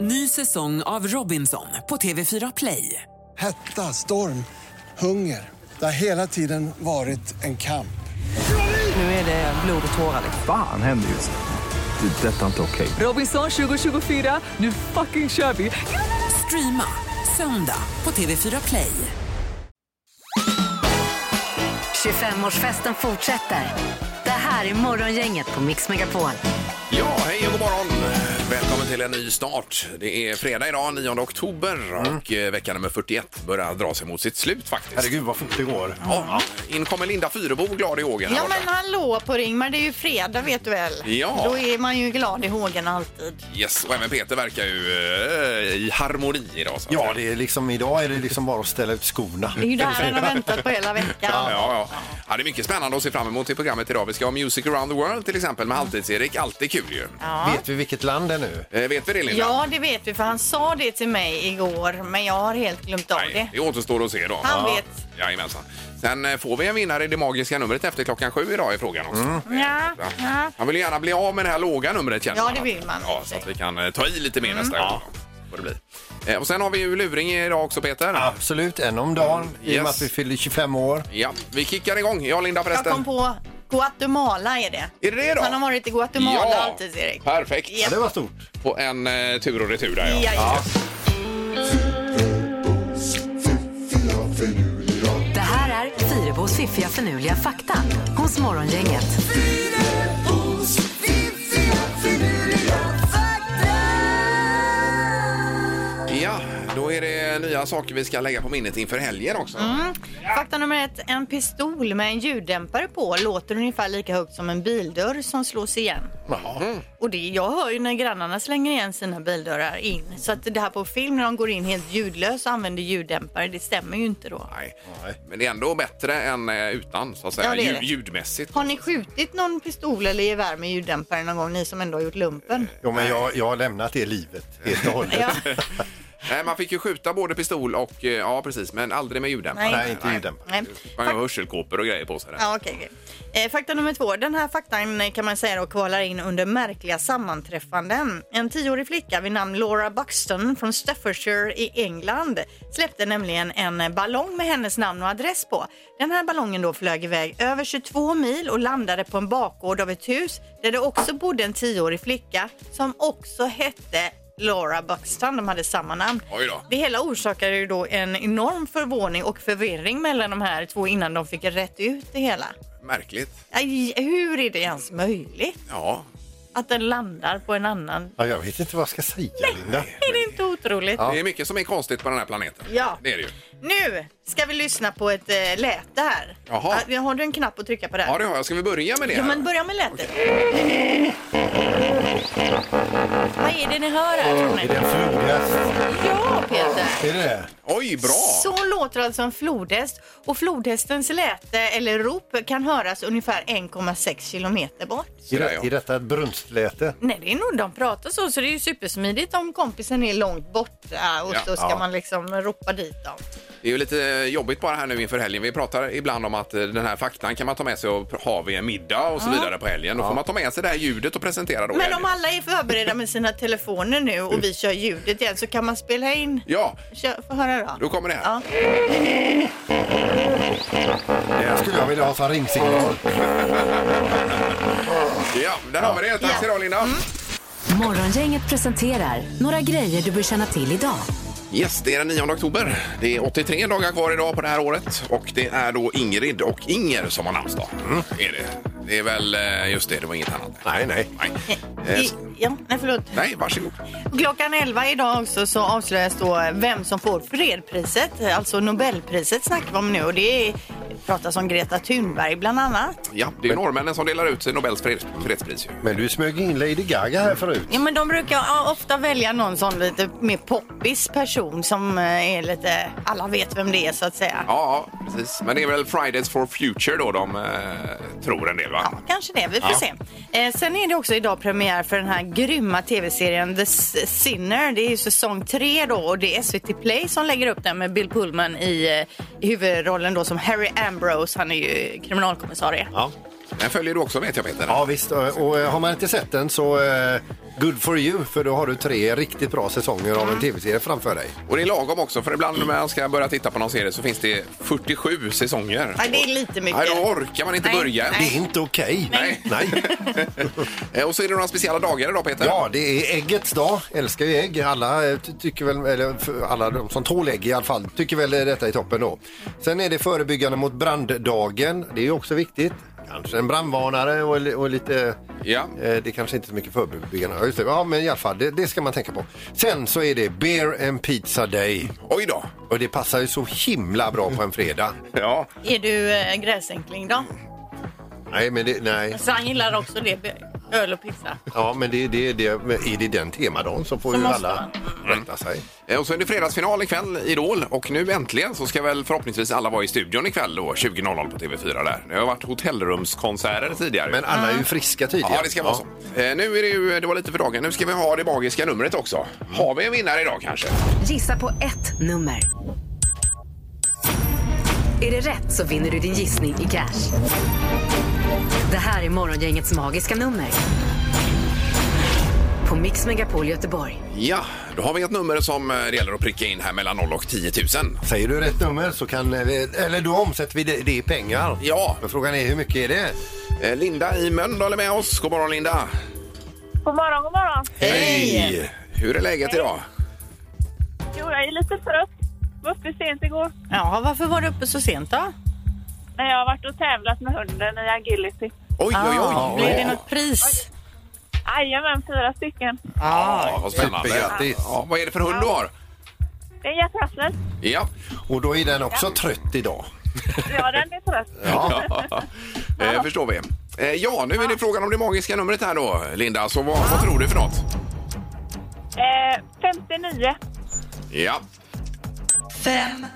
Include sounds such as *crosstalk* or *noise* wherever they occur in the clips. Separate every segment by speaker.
Speaker 1: Ny säsong av Robinson på TV4 Play.
Speaker 2: Hetta, storm, hunger. Det har hela tiden varit en kamp.
Speaker 1: Nu är det blod och tårar. liksom.
Speaker 3: Fan händer just nu. Det. är Detta är inte okej.
Speaker 1: Robinson 2024, nu fucking kör vi! Streama söndag på TV4 Play.
Speaker 4: 25-årsfesten fortsätter. Det här är Morgongänget på Mix Megapol.
Speaker 5: Ja, hej och god morgon. Välkommen till en ny start. Det är fredag idag, 9 oktober och eh, vecka nummer 41 börjar dra sig mot sitt slut faktiskt.
Speaker 3: Mm. Herregud vad fort det går.
Speaker 5: Ja, in kommer Linda Fyrebo glad i hågen. här
Speaker 6: Ja
Speaker 5: borta.
Speaker 6: men hallå på Ringmar, det är ju fredag vet du väl?
Speaker 5: Ja.
Speaker 6: Då är man ju glad i hågen alltid.
Speaker 5: Yes, och även Peter verkar ju eh, i harmoni idag. Så att
Speaker 3: Ja,
Speaker 5: säga.
Speaker 3: det är liksom, idag är det liksom bara att ställa ut skorna.
Speaker 6: Det är ju det här man har väntat på hela
Speaker 5: Ja,
Speaker 6: veckan.
Speaker 5: ja, ja. ja, det är mycket spännande att se fram emot i programmet idag. Vi ska ha Music around the world till exempel med Halvtids-Erik. Alltid kul ju.
Speaker 6: Ja.
Speaker 3: Vet vi vilket land det är nu?
Speaker 5: Eh, vet vi det Linda?
Speaker 6: Ja, det vet vi för han sa det till mig igår men jag har helt glömt av
Speaker 5: Nej,
Speaker 6: det.
Speaker 5: det återstår att se då.
Speaker 6: Han
Speaker 5: ja.
Speaker 6: vet.
Speaker 5: Jajamensan. Sen eh, får vi en vinnare i det magiska numret efter klockan sju idag i frågan också.
Speaker 3: Mm.
Speaker 6: Ja,
Speaker 5: Ja.
Speaker 6: ja.
Speaker 5: Han vill ju gärna bli av med det här låga numret känner
Speaker 6: Ja,
Speaker 5: man
Speaker 6: det
Speaker 5: att-
Speaker 6: vill man. Mm.
Speaker 5: Ja, så att vi kan eh, ta i lite mer nästa gång. då. Får det bli. Eh, Och sen har vi ju luring idag också Peter.
Speaker 3: Absolut, en om dagen i och
Speaker 5: Yes.
Speaker 3: med att vi fyller 25 år.
Speaker 5: Ja, vi kickar igång. Jag och Linda
Speaker 6: Jag
Speaker 5: förresten.
Speaker 6: kom på Guatemala är det.
Speaker 5: Är det det då?
Speaker 6: Han har varit i Guatemala alltid Erik.
Speaker 5: Perfekt.
Speaker 6: Ja.
Speaker 3: Ja, det var stort.
Speaker 5: På en eh, tur och retur där ja.
Speaker 6: Ja, ja.
Speaker 4: Det här är Fyrabos fiffiga förnuliga fakta hos Morgongänget.
Speaker 5: Ja, då är det nya saker vi ska lägga på minnet inför helgen också.
Speaker 6: Mm. Fakta nummer ett. En pistol med en ljuddämpare på låter ungefär lika högt som en bildörr som slås igen. Och det, jag hör ju när grannarna slänger igen sina bildörrar in. Så att det här på film när de går in helt ljudlöst och använder ljuddämpare, det stämmer ju inte då.
Speaker 5: Nej. Men det är ändå bättre än eh, utan så att säga.
Speaker 6: Ja, det är
Speaker 5: Ljud-
Speaker 6: det.
Speaker 5: Ljudmässigt.
Speaker 6: Har ni skjutit någon pistol eller gevär med ljuddämpare någon gång, ni som ändå har gjort lumpen?
Speaker 3: Jo, men jag, jag har lämnat det livet helt och hållet.
Speaker 6: Ja.
Speaker 5: Nej, man fick ju skjuta både pistol och, eh, ja precis, men aldrig med ljuddämpare.
Speaker 6: Nej.
Speaker 3: *laughs* Nej, inte ljuddämpare.
Speaker 6: Nej.
Speaker 5: Man har hörselkåpor och grejer på sig. där.
Speaker 6: Ja, okej. okej. Eh, fakta nummer två. Den här faktan eh, kan man säga då kvalar in under märkliga sammanträffanden. En tioårig flicka vid namn Laura Buxton från Staffordshire i England släppte nämligen en eh, ballong med hennes namn och adress på. Den här ballongen då flög iväg över 22 mil och landade på en bakgård av ett hus där det också bodde en tioårig flicka som också hette Laura Buxton, de hade samma namn.
Speaker 5: Oj då.
Speaker 6: Det hela orsakade ju då en enorm förvåning och förvirring mellan de här två innan de fick rätt ut det hela.
Speaker 5: Märkligt.
Speaker 6: Aj, hur är det ens möjligt
Speaker 5: Ja,
Speaker 6: att den landar på en annan?
Speaker 3: Ja, jag vet inte vad jag ska säga, Linda.
Speaker 6: Är det inte otroligt?
Speaker 5: det är mycket som är konstigt på den här planeten.
Speaker 6: Ja.
Speaker 5: Det är det ju.
Speaker 6: Nu ska vi lyssna på ett eh, läte här.
Speaker 5: Jaha.
Speaker 6: Ja, Har du en knapp att trycka på där?
Speaker 5: Ja, det har jag. Ska vi börja med det?
Speaker 6: Ja,
Speaker 5: här?
Speaker 6: men börja med lätet. Vad är det ni hör här tror
Speaker 3: Är
Speaker 6: ni?
Speaker 3: det en flodhäst?
Speaker 6: Ja, Peter.
Speaker 3: Är det det?
Speaker 5: Oj, bra!
Speaker 6: Så låter alltså en flodhäst och flodhästens läte eller rop kan höras ungefär 1,6 kilometer bort.
Speaker 3: Är,
Speaker 5: där,
Speaker 3: det,
Speaker 5: ja.
Speaker 3: är detta ett brunstläte?
Speaker 6: Nej, det är nog de pratar så, så det är ju supersmidigt om kompisen är långt borta och
Speaker 5: Ja.
Speaker 6: så ska
Speaker 3: Ja.
Speaker 6: man liksom ropa dit dem.
Speaker 5: Det är ju lite jobbigt bara här nu inför helgen. Vi pratar ibland om att eh, den här faktan kan man ta med sig och ha vid en middag och så vidare på helgen. Då får man ta med sig det här ljudet och presentera då.
Speaker 6: Men
Speaker 5: helgen.
Speaker 6: om alla är förberedda med sina telefoner nu och vi kör ljudet igen så kan man spela in.
Speaker 5: Ja,
Speaker 6: Kör, få höra då.
Speaker 5: då kommer det här.
Speaker 6: Ja.
Speaker 3: Det skulle jag vilja ha som ringsignal.
Speaker 5: Ja, där har vi det. Tack
Speaker 6: Ja. Mm.
Speaker 5: ska du ha, Linda.
Speaker 4: Morgongänget presenterar några grejer du bör känna till idag.
Speaker 5: Yes, det är den 9 oktober. Det är 83 dagar kvar idag på det här året och det är då Ingrid och Inger som har namnsdag. Är det. det är väl, eh, just det, det var inget annat.
Speaker 3: Mm. Nej, nej.
Speaker 5: Nej, Eh,
Speaker 6: I, *laughs* ja, nej förlåt.
Speaker 5: nej varsågod.
Speaker 6: Klockan 11 idag också så avslöjas då vem som får fredpriset, alltså Nobelpriset snackar vi om nu och det är, pratas om Greta Thunberg bland annat.
Speaker 5: Ja, det är ju norrmännen som delar ut Nobels freds, fredspris. Ju.
Speaker 3: Men du smög in Lady Gaga här förut.
Speaker 6: Ja men de brukar ja, ofta välja någon sån lite mer poppis person som eh, är lite, alla vet vem det är så att säga.
Speaker 5: Ja, ja, precis. Men det är väl Fridays for Future då de eh, tror en del, va?
Speaker 6: Ja, kanske det. Vi får
Speaker 5: Ja.
Speaker 6: se. Eh, sen är det också idag premiär för den här grymma tv-serien The S- Sinner. Det är ju säsong tre då och det är SVT Play som lägger upp den med Bill Pullman i, eh, i huvudrollen då som Harry Ambrose. Han är ju kriminalkommissarie.
Speaker 3: Ja.
Speaker 5: Den följer du också vet jag Peter.
Speaker 3: Ja visst, och, och eh, har man inte sett den så eh, good for you för då har du tre riktigt bra säsonger av en tv-serie framför dig.
Speaker 5: Och det är lagom också för ibland när man ska börja titta på någon serie så finns det 47 säsonger.
Speaker 6: Nej, det är lite mycket.
Speaker 5: Nej, då orkar man inte
Speaker 6: Nej,
Speaker 5: börja.
Speaker 3: Det är inte okej.
Speaker 5: Nej.
Speaker 3: Nej.
Speaker 5: Eh, Och så är det några speciella dagar idag Peter.
Speaker 3: Ja, det är äggets dag. Älskar ju ägg. Alla, eh, ty- tycker väl, eller för alla de som tål ägg i alla fall, tycker väl eh, detta är toppen då. Sen är det förebyggande mot branddagen. Det är ju också viktigt. Kanske en brandvarnare och, li- och lite...
Speaker 5: Ja.
Speaker 3: Eh, det kanske inte är så mycket förebyggande. Ja, just det. Ja, men i alla fall, det, det ska man tänka på. Sen så är det Beer and Pizza Day.
Speaker 5: Oj då.
Speaker 3: Och det passar ju så himla bra på en fredag.
Speaker 5: Ja.
Speaker 6: Är du eh, gräsänkling då?
Speaker 3: Nej, men det, nej.
Speaker 6: Så han gillar också det, be- öl och pizza.
Speaker 3: Ja, men det, det, det, men är det den temadagen så får
Speaker 6: Så
Speaker 3: ju
Speaker 6: måste
Speaker 3: alla rätta sig.
Speaker 5: Eh, Och så är det fredagsfinal ikväll, Idol. Och nu äntligen så ska väl förhoppningsvis alla vara i studion ikväll då, 20.00 på TV4 där. Det har varit hotellrumskonserter tidigare.
Speaker 3: Men alla är ju friska tidigare.
Speaker 5: Ja, det ska vara så. Eh, Nu är det ju, det var lite för dagen. Nu ska vi ha det magiska numret också. Har vi en vinnare idag kanske?
Speaker 4: Gissa på ett nummer. Är det rätt så vinner du din gissning i cash. Det här är Morgongängets magiska nummer. På Mix Megapol Göteborg.
Speaker 5: Ja, då har vi ett nummer som eh, det gäller att pricka in här mellan 0 och 10 000.
Speaker 3: Säger du rätt nummer så kan eh, vi, eller då omsätter vi det, det i pengar.
Speaker 5: Ja.
Speaker 3: Men frågan är hur mycket är det?
Speaker 5: Eh, Linda i Mölndal är med oss. God morgon Linda!
Speaker 7: God morgon, god morgon.
Speaker 5: Hej! Hur är läget idag?
Speaker 7: Jo, jag är lite trött. Var uppe sent igår.
Speaker 6: Ja, varför var du uppe så sent då?
Speaker 7: När jag har varit och tävlat med hunden i agility.
Speaker 5: Oj, oj,
Speaker 6: Ah,
Speaker 5: oj!
Speaker 6: Blev det något pris?
Speaker 7: Jajamän, fyra stycken.
Speaker 5: Ja, vad spännande.
Speaker 3: Supergrattis.
Speaker 5: Ja, vad är det för hund du har?
Speaker 7: Det är jättehassel.
Speaker 5: Ja.
Speaker 3: Och då är den också trött idag.
Speaker 7: Ja, den är trött.
Speaker 5: Ja. *laughs* Eh, förstår vi. Eh, ja, nu är det frågan om det magiska numret här då, Linda. Så vad, vad tror du för något?
Speaker 7: Eh, 59.
Speaker 5: Ja.
Speaker 8: Fem,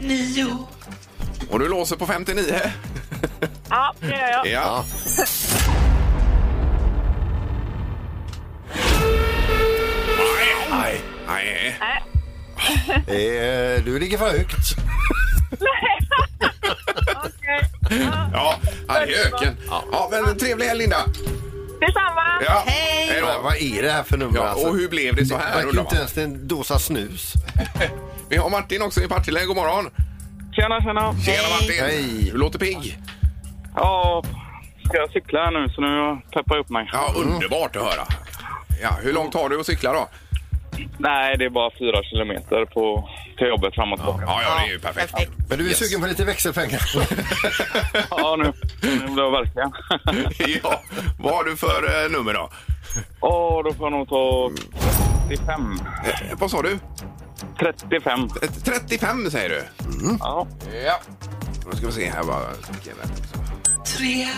Speaker 8: nio,
Speaker 5: Och du låser på 59?
Speaker 7: Ja, det gör jag.
Speaker 5: Ja. Nej, nej.
Speaker 7: Nej.
Speaker 3: Eh, du ligger för högt.
Speaker 7: *laughs* Okej.
Speaker 5: Ja, ja, det är öken. Ja, men trevlig helg, Linda.
Speaker 7: Detsamma.
Speaker 5: Ja.
Speaker 6: Hej!
Speaker 5: Hej
Speaker 3: Ja,
Speaker 5: då.
Speaker 3: Eh, vad är det här för nummer?
Speaker 5: Ja,
Speaker 3: alltså?
Speaker 5: och hur blev det så
Speaker 3: Det
Speaker 5: här?
Speaker 3: verkar ju
Speaker 5: undrar
Speaker 3: inte
Speaker 5: man.
Speaker 3: ens en dosa snus.
Speaker 5: Vi har Martin också i Partille. God morgon!
Speaker 9: Tjena, tjena.
Speaker 5: Tjena Martin!
Speaker 3: Hej.
Speaker 5: Du låter pigg.
Speaker 9: Ja, ska jag cykla här nu så nu jag peppar upp mig.
Speaker 5: Ja,
Speaker 3: Mm.
Speaker 5: underbart att höra. Ja, hur långt har du att cykla då?
Speaker 9: Nej, det är bara fyra kilometer på, till jobbet fram och tillbaka.
Speaker 5: Ja, ja det är ju perfekt.
Speaker 6: perfekt.
Speaker 3: Men du är
Speaker 5: Yes.
Speaker 3: sugen på lite växelpengar.
Speaker 9: Ja, nu, nu blir jag verkligen.
Speaker 5: *laughs* ja, vad har du för eh, nummer då?
Speaker 9: Åh, då får jag nog ta 35.
Speaker 5: Eh, vad sa du?
Speaker 9: 35.
Speaker 5: Ett 35 säger du?
Speaker 9: Ja.
Speaker 5: Ja. Nu ska vi se här vad... vilken är det?
Speaker 8: tre,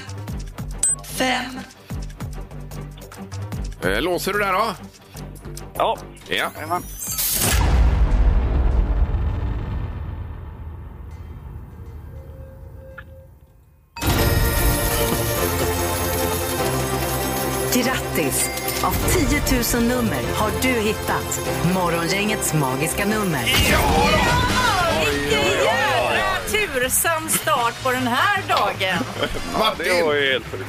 Speaker 8: fem,
Speaker 5: Eh, Låser du där då?
Speaker 9: Ja.
Speaker 5: Ja.
Speaker 9: Jajamän.
Speaker 4: Grattis! Av 10 000 nummer har du hittat Morgongängets magiska nummer.
Speaker 6: Vilken jädra tursam start på den här dagen!
Speaker 9: Det var
Speaker 3: Martin!
Speaker 9: ju helt sjukt.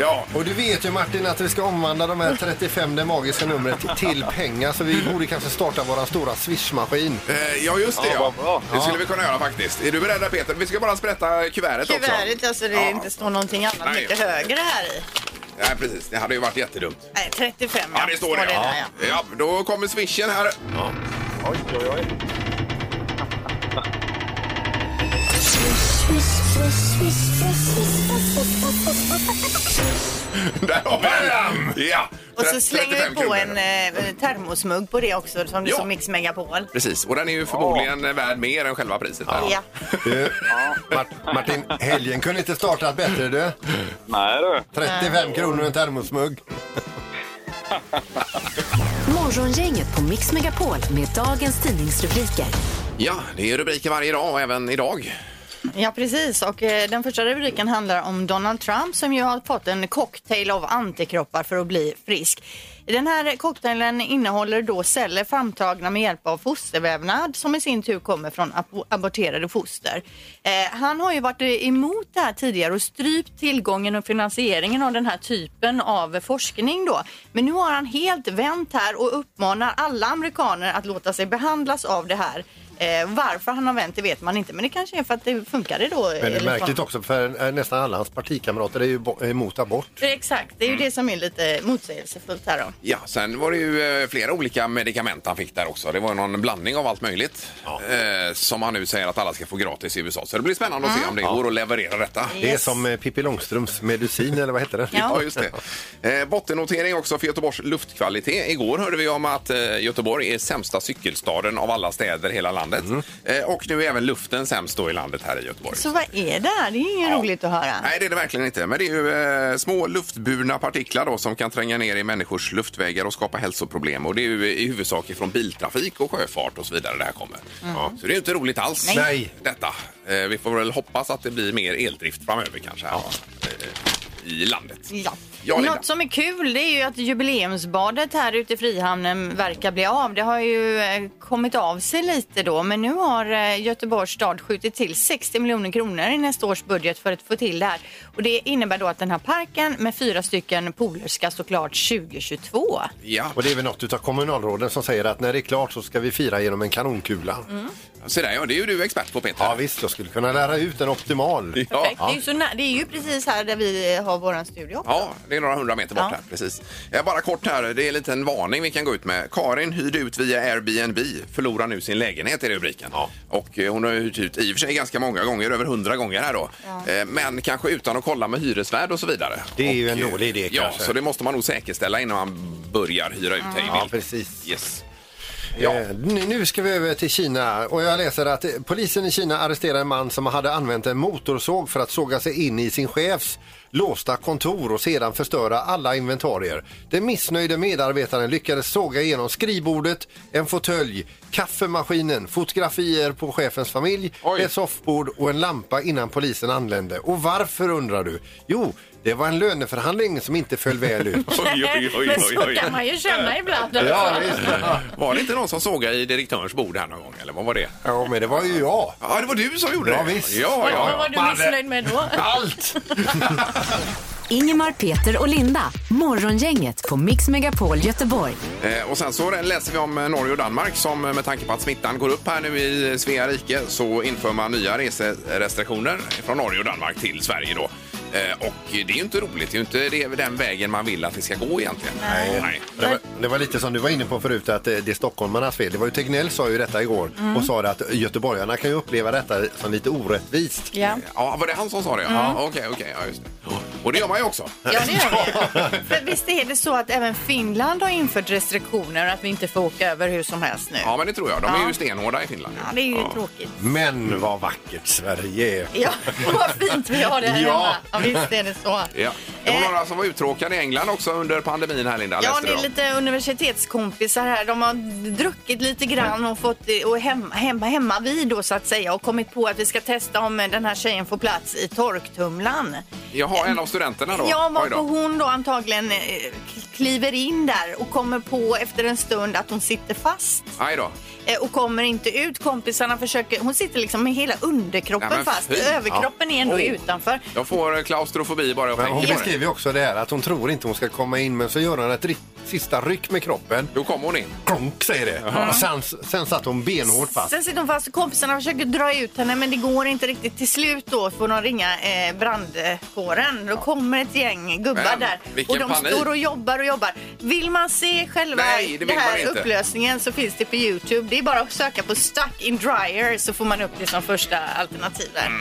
Speaker 5: Ja.
Speaker 3: Och du vet ju Martin att vi ska omvandla de här 35, det magiska numret, till pengar. Så vi borde kanske starta våran stora swishmaskin.
Speaker 5: Eh, Ja, just det.
Speaker 9: Ja,
Speaker 5: Ja,
Speaker 9: vad bra.
Speaker 5: Det skulle vi kunna göra faktiskt. Är du beredd där, Peter? Vi ska bara sprätta kuvertet, också.
Speaker 6: Kuvertet, alltså det inte står någonting annat
Speaker 5: Nej.
Speaker 6: mycket högre här i.
Speaker 5: Nej, precis. Det hade ju varit jättedumt.
Speaker 6: Nej, 35
Speaker 5: Ja, det står det.
Speaker 6: där, ja.
Speaker 5: ja. då kommer swishen här.
Speaker 9: Oj, oj, oj.
Speaker 5: Där har vi den! Ja.
Speaker 6: Och så slänger vi
Speaker 5: 35
Speaker 6: på
Speaker 5: kronor.
Speaker 6: en eh, termosmugg på det också som du
Speaker 5: Ja.
Speaker 6: som Mix Megapol.
Speaker 5: Precis, och den är ju förmodligen värd mer än själva priset. där.
Speaker 6: Ja.
Speaker 3: Du, Mart- Martin, helgen kunde inte startat bättre du.
Speaker 9: Nej du.
Speaker 3: 35 kronor och en termosmugg.
Speaker 4: Morgongänget på Mix Megapol med dagens tidningsrubriker.
Speaker 5: ja, det är rubriker varje dag och även idag.
Speaker 6: ja, precis. Och eh, den första rubriken handlar om Donald Trump som ju har fått en cocktail av antikroppar för att bli frisk. Den här cocktailen innehåller då celler framtagna med hjälp av fostervävnad som i sin tur kommer från abo- aborterade foster. Eh, han har ju varit emot det här tidigare och strypt tillgången och finansieringen av den här typen av forskning då. Men nu har han helt vänt här och uppmanar alla amerikaner att låta sig behandlas av det här. Eh, varför han har vänt det vet man inte men det kanske är för att det funkade då.
Speaker 3: Men det är
Speaker 6: eller
Speaker 3: märkligt
Speaker 6: så.
Speaker 3: också för eh, nästan alla hans partikamrater är ju bo- emot abort.
Speaker 6: Exakt, det är ju det som är lite motsägelsefullt här då.
Speaker 5: Ja, sen var det ju eh, flera olika medicament han fick där också. Det var ju någon blandning av allt möjligt eh, som han nu säger att alla ska få gratis i USA. Så det blir spännande att se om det går att leverera detta.
Speaker 3: Mm. Det är som eh, Pippi Långstrumps medicin eller vad heter det?
Speaker 6: Ja.
Speaker 5: Ja, just det. Eh, bottennotering också för Göteborgs luftkvalitet. Igår hörde vi om att eh, Göteborg är sämsta cykelstaden av alla städer i hela landet.
Speaker 3: Mm.
Speaker 5: Eh, och nu är även luften sämst då i landet här i Göteborg.
Speaker 6: Så vad är det här? Det är inget
Speaker 5: Ja.
Speaker 6: roligt att höra.
Speaker 5: Nej, det är det verkligen inte. Men det är ju eh, små luftburna partiklar då, som kan tränga ner i människors luftvägar och skapa hälsoproblem. Och det är ju eh, i huvudsak från biltrafik och sjöfart och så vidare det här kommer.
Speaker 6: Mm.
Speaker 5: Ja, så det är ju inte roligt alls.
Speaker 3: Nej.
Speaker 5: Detta. Eh, vi får väl hoppas att det blir mer eldrift framöver kanske. Här, eh, I landet.
Speaker 6: Ja.
Speaker 5: Ja, Linda.
Speaker 6: Något som är kul det är ju att jubileumsbadet här ute i Frihamnen verkar bli av. Det har ju eh, kommit av sig lite då men nu har eh, Göteborgs stad skjutit till 60 miljoner kronor i nästa års budget för att få till det här. Och det innebär då att den här parken med fyra stycken pooler ska stå klart 2022.
Speaker 5: Ja,
Speaker 3: Och det är väl något utav kommunalråden som säger att när det är klart så ska vi fira genom en kanonkula.
Speaker 5: så där, ja, det är ju du expert på Peter.
Speaker 3: Ja visst, jag skulle kunna lära ut en optimal.
Speaker 5: Ja.
Speaker 6: Perfekt. Det, är ju så nä- det är ju precis här där vi eh, har våran studio.
Speaker 5: Ja, det är några hundra meter bort
Speaker 6: Ja.
Speaker 5: här. Precis. Eh, Bara kort här, det är en liten varning vi kan gå ut med. Karin hyrde ut via Airbnb, förlorar nu sin lägenhet i rubriken. Och eh, hon har ju hyrt ut i och för sig ganska många gånger, över hundra gånger här då. Eh, Men kanske utan att kolla med hyresvärd och så vidare.
Speaker 3: Det är ju
Speaker 5: Och,
Speaker 3: en
Speaker 5: eh,
Speaker 3: dålig idé
Speaker 5: Ja,
Speaker 3: kanske.
Speaker 5: så det måste man nog säkerställa innan man börjar hyra ut. hej vilt.
Speaker 3: Ja, precis.
Speaker 5: Yes. *laughs*
Speaker 3: Ja.
Speaker 5: Ja.
Speaker 3: Eh, Nu ska vi över till Kina och jag läser att eh, polisen i Kina arresterar en man som hade använt en motorsåg för att såga sig in i sin chefs låsta kontor och sedan förstöra alla inventarier. Den missnöjde medarbetaren lyckades såga igenom skrivbordet, en fåtölj, kaffemaskinen, fotografier på chefens familj,
Speaker 5: Oj.
Speaker 3: ett soffbord och en lampa innan polisen anlände. Och varför undrar du? Jo, det var en löneförhandling som inte föll väl ut. *laughs*
Speaker 5: Oj, oj, oj,
Speaker 6: Men
Speaker 5: oj,
Speaker 6: så
Speaker 5: oj.
Speaker 6: kan man ju känna ibland.
Speaker 3: ja, visst.
Speaker 5: Var det inte någon som sågade i direktörens bord här någon gång? Eller vad var det?
Speaker 3: ja, men det var ju jag.
Speaker 5: Ja, det var du som gjorde
Speaker 3: Ja,
Speaker 5: det.
Speaker 3: visst.
Speaker 5: Ja, ja,
Speaker 6: Vad
Speaker 5: ja.
Speaker 6: var du missnöjd med då?
Speaker 3: Allt!
Speaker 4: Ingemar, Peter och Linda. Morgongänget på Mix Megapol Göteborg.
Speaker 5: Eh, Och sen så läser vi om eh, Norge och Danmark som eh, med tanke på att smittan går upp här nu i Svea rike så inför man nya reserestriktioner från Norge och Danmark till Sverige då. Eh, Och det är ju inte roligt, det är ju inte det- den vägen man vill att det ska gå egentligen. Nej.
Speaker 3: Det var, det var lite som du var inne på förut, att eh, det är stockholmarnas fel. Det var ju Tegnell sa ju detta igår och sa det att göteborgarna kan ju uppleva detta som lite orättvist.
Speaker 6: Ja.
Speaker 5: Ja, var det han som sa det?
Speaker 6: Mm.
Speaker 5: Ja, okej, okej. Ja, just det. Och det gör man ju också.
Speaker 6: Ja, det gör vi. För visst är det så att även Finland har infört restriktioner att vi inte får åka över hur som helst nu?
Speaker 5: Ja, men det tror jag. De är
Speaker 6: Ja.
Speaker 5: ju stenhårda i Finland.
Speaker 6: Ja, det är ju tråkigt.
Speaker 3: Men vad vackert Sverige är!
Speaker 6: Ja, *laughs* vad fint vi har det här
Speaker 3: Ja.
Speaker 6: hemma. Ja, visst är det så.
Speaker 5: Ja. Det var
Speaker 6: Eh.
Speaker 5: några som var uttråkade i England också under pandemin här, Linda.
Speaker 6: Ja,
Speaker 5: Läste
Speaker 6: det
Speaker 5: du
Speaker 6: är
Speaker 5: om?
Speaker 6: lite universitetskompisar här. De har druckit lite grann och fått och hemma, hemma, hemma vid då så att säga och kommit på att vi ska testa om den här tjejen får plats i torktumlaren.
Speaker 5: Jaha, en av studenterna då?
Speaker 6: Ja,
Speaker 5: Oj
Speaker 6: varpå
Speaker 5: då.
Speaker 6: hon då antagligen eh, kliver in där och kommer på efter en stund att hon sitter fast.
Speaker 5: Aj då.
Speaker 6: Eh, och kommer inte ut. Kompisarna försöker, hon sitter liksom med hela underkroppen
Speaker 5: Nej, men
Speaker 6: fast.
Speaker 5: fy.
Speaker 6: Överkroppen är ändå
Speaker 5: Oh.
Speaker 6: utanför.
Speaker 5: Jag får eh, klaustrofobi bara jag
Speaker 3: Men hon
Speaker 5: tänker på det.
Speaker 3: beskriver ju också det här att hon tror inte hon ska komma in men så gör hon ett ri- sista ryck med kroppen.
Speaker 5: Då kom hon in.
Speaker 3: Klonk säger det! Och sen, sen satt hon benhårt fast.
Speaker 6: Sen sitter hon fast och kompisarna försöker dra ut henne men det går inte riktigt. Till slut då får de ringa eh, brandkåren. Då kommer ett gäng gubbar
Speaker 5: Men,
Speaker 6: där
Speaker 5: vilken
Speaker 6: och de
Speaker 5: panik.
Speaker 6: står och jobbar och jobbar. Vill man se själva
Speaker 5: Nej, det vill
Speaker 6: den
Speaker 5: man
Speaker 6: här
Speaker 5: inte.
Speaker 6: upplösningen så finns det på Youtube. Det är bara att söka på Stuck in Dryer så får man upp det som första alternativ där.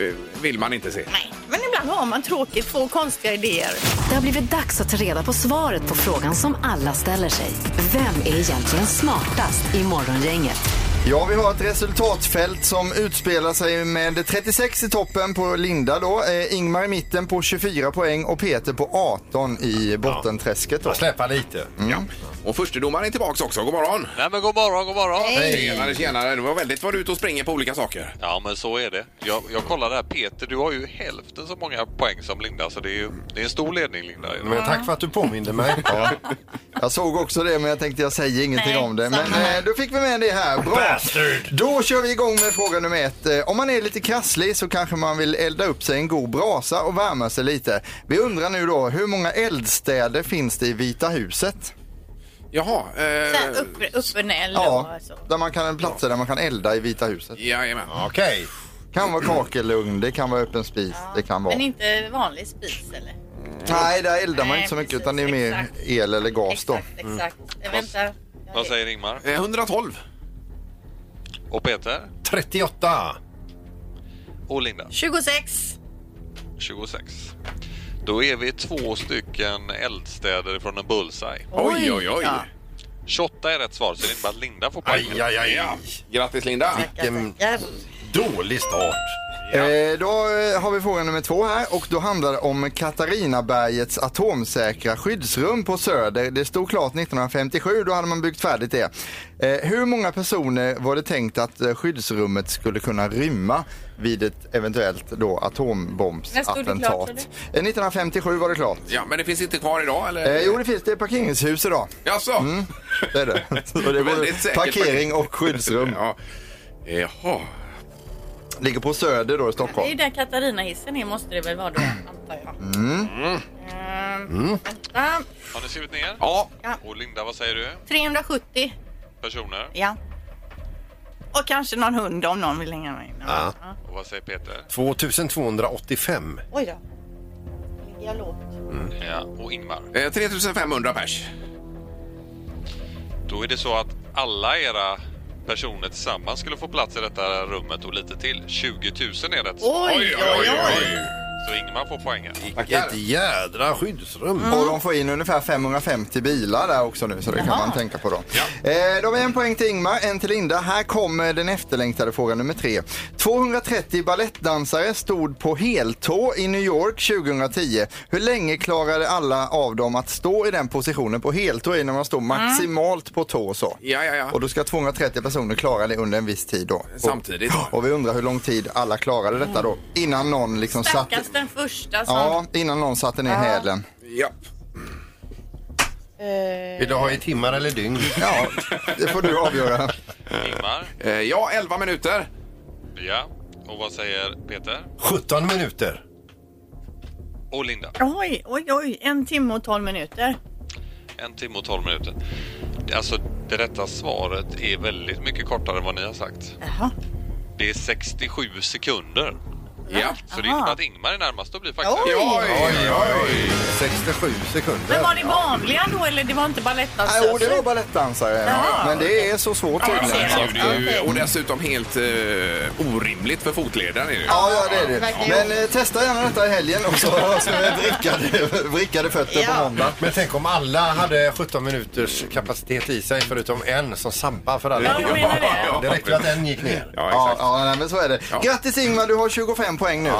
Speaker 5: Eh, vill man inte se.
Speaker 6: Nej, men ibland har man tråkigt, få konstiga idéer.
Speaker 4: Det har blivit dags att ta reda på svaret på frågan som alla ställer sig. Vem är egentligen smartast i Morgongänget?
Speaker 10: Ja, vi har ett resultatfält som utspelar sig med 36 i toppen på Linda då, eh, Ingmar i mitten på 24 poäng och Peter på 18 i bottenträsket då.
Speaker 3: Släppa lite.
Speaker 5: Ja. Och förstedomaren är tillbaks också. God morgon!
Speaker 11: Nej men god morgon, god morgon!
Speaker 5: Tjenare, tjenare! Det var väldigt vad du är ute och springer på olika saker.
Speaker 11: Ja men så är det. Jag, jag kollar där, Peter du har ju hälften så många poäng som Linda så det är ju det är en stor ledning Linda.
Speaker 3: Men tack för att du påminner mig.
Speaker 10: Ja. Jag såg också det men jag tänkte jag säger ingenting
Speaker 11: Nej,
Speaker 10: om det.
Speaker 11: samma
Speaker 10: Men eh, då fick vi med det här. Bra!
Speaker 11: Bastard.
Speaker 10: Då kör vi igång med fråga nummer ett. Eh, Om man är lite krasslig så kanske man vill elda upp sig i en god brasa och värma sig lite. Vi undrar nu då, hur många eldstäder finns det i Vita huset?
Speaker 5: Jaha. Eh,
Speaker 6: Där upp, upp en eld och
Speaker 10: Ja,
Speaker 6: så.
Speaker 10: där man kan, platser där man kan elda i Vita huset.
Speaker 5: Jajamän.
Speaker 3: Okej.
Speaker 10: Kan vara kakelugn, det kan vara öppen spis, det kan vara...
Speaker 6: Men inte vanlig spis eller?
Speaker 10: Nej, där eldar man
Speaker 6: Nej,
Speaker 10: inte så mycket
Speaker 6: precis,
Speaker 10: utan det är mer
Speaker 6: exakt.
Speaker 10: el eller gas då.
Speaker 6: Exakt, exakt.
Speaker 5: Mm.
Speaker 6: Eh, Vänta.
Speaker 11: Vad säger Ingmar?
Speaker 5: Eh, 112.
Speaker 11: Och Peter?
Speaker 3: 38.
Speaker 11: Och Linda?
Speaker 6: 26.
Speaker 11: 26. Då är vi två stycken eldstäder från en bullseye.
Speaker 5: Oj, oj, oj. Ja.
Speaker 11: 28 är rätt svar så det innebär att Linda får poäng.
Speaker 3: Aj, aj, aj.
Speaker 5: Ja. Grattis Linda!
Speaker 3: Vilken dålig start.
Speaker 10: Eh, då eh, har vi fråga nummer två här och då handlar det om Katarinabergets atomsäkra skyddsrum på Söder. Det stod klart 1957, då hade man byggt färdigt det. Eh, hur många personer var det tänkt att eh, skyddsrummet skulle kunna rymma vid ett eventuellt då
Speaker 5: När stod det klart,
Speaker 10: atombombsattentat?
Speaker 5: sa
Speaker 10: Eh, 1957 var det klart.
Speaker 5: Ja, men det finns inte kvar idag eller?
Speaker 10: Eh, jo, det finns det är parkeringshus idag.
Speaker 5: Jaså?
Speaker 10: Mm, det är det.
Speaker 5: *laughs*
Speaker 10: Så det är både
Speaker 5: Väldigt säkert
Speaker 10: parkering och skyddsrum.
Speaker 5: Mm. ja. Jaha.
Speaker 10: Ligger på Söder då i
Speaker 6: Det är ju
Speaker 10: Stockholm.
Speaker 6: där Katarina-hissen är måste det väl vara då, antar jag.
Speaker 10: Mm.
Speaker 6: Ehm,
Speaker 10: Mm.
Speaker 6: vänta.
Speaker 11: Har ni skrivit ner?
Speaker 5: Ja.
Speaker 11: Och Linda, vad säger du?
Speaker 6: 370.
Speaker 11: Personer?
Speaker 6: Ja. Och kanske någon hund om någon vill hänga med.
Speaker 3: Ja.
Speaker 11: Och vad säger Peter?
Speaker 3: 2285.
Speaker 6: Oj då. Ligger jag lågt?
Speaker 11: Ja, och Ingmar?
Speaker 5: Eh, 3500 pers.
Speaker 11: Då är det så att alla era personer tillsammans skulle få plats i detta rummet och lite till. 20 000 är rätt svar.
Speaker 3: Oj, oj, oj.
Speaker 11: Så Ingmar får poängen.
Speaker 3: Vilket jädra skyddsrum.
Speaker 10: Och de får in ungefär 550 bilar där också nu så det kan man tänka på då. Eh, då har vi en poäng till Ingmar, en till Linda. Här kommer den efterlängtade frågan nummer tre. 230 ballettdansare stod på heltå i New York 2010. Hur länge klarade alla av dem att stå i den positionen på heltå i när man står maximalt på tå och så?
Speaker 5: Ja, ja, ja.
Speaker 10: Och då ska 230 personer klara det under en viss tid då.
Speaker 5: Samtidigt.
Speaker 10: Och, och vi undrar hur lång tid alla klarade detta då innan någon liksom satt...
Speaker 6: Stackars den första som...
Speaker 10: Ja, innan någon satte ner
Speaker 6: Ja.
Speaker 10: hälen.
Speaker 5: Ja.
Speaker 3: Vill du ha i timmar eller dygn?
Speaker 10: Ja, det får du avgöra.
Speaker 11: Ingmar?
Speaker 5: Eh, ja, 11 minuter.
Speaker 11: Ja. Och vad säger Peter?
Speaker 3: 17 minuter.
Speaker 11: Och Linda?
Speaker 6: Oj, oj, oj. En timme och tolv minuter.
Speaker 11: En timme och 12 minuter. Alltså, det rätta svaret är väldigt mycket kortare än vad ni har sagt.
Speaker 6: Jaha.
Speaker 11: Det är 67 sekunder.
Speaker 5: Ja.
Speaker 11: Så det innebär att Ingmar är närmast och blir faktiskt...
Speaker 6: Oj! Oj,
Speaker 3: oj, 67 sekunder.
Speaker 6: Men var det vanliga då eller det var inte balettdansöser?
Speaker 10: Jo, det var balettdansare.
Speaker 6: Jaha.
Speaker 10: Men det är så svårt tydligen.
Speaker 5: Ja, det är ju, och dessutom helt eh, orimligt för fotledaren. Är det ju.
Speaker 10: Ja, ja, det är det.
Speaker 5: Verkligen.
Speaker 10: Men eh, testa gärna detta i helgen också. Alltså med vrickade, vrickade fötter på måndag.
Speaker 3: Men tänk om alla hade 17 minuters kapacitet i sig förutom en som sabbar för alla.
Speaker 10: Ja, jag menar det.
Speaker 3: Det räckte att en gick ner.
Speaker 10: Ja, ja nej, men så är det. Grattis Ingmar, du har 25 poäng nu.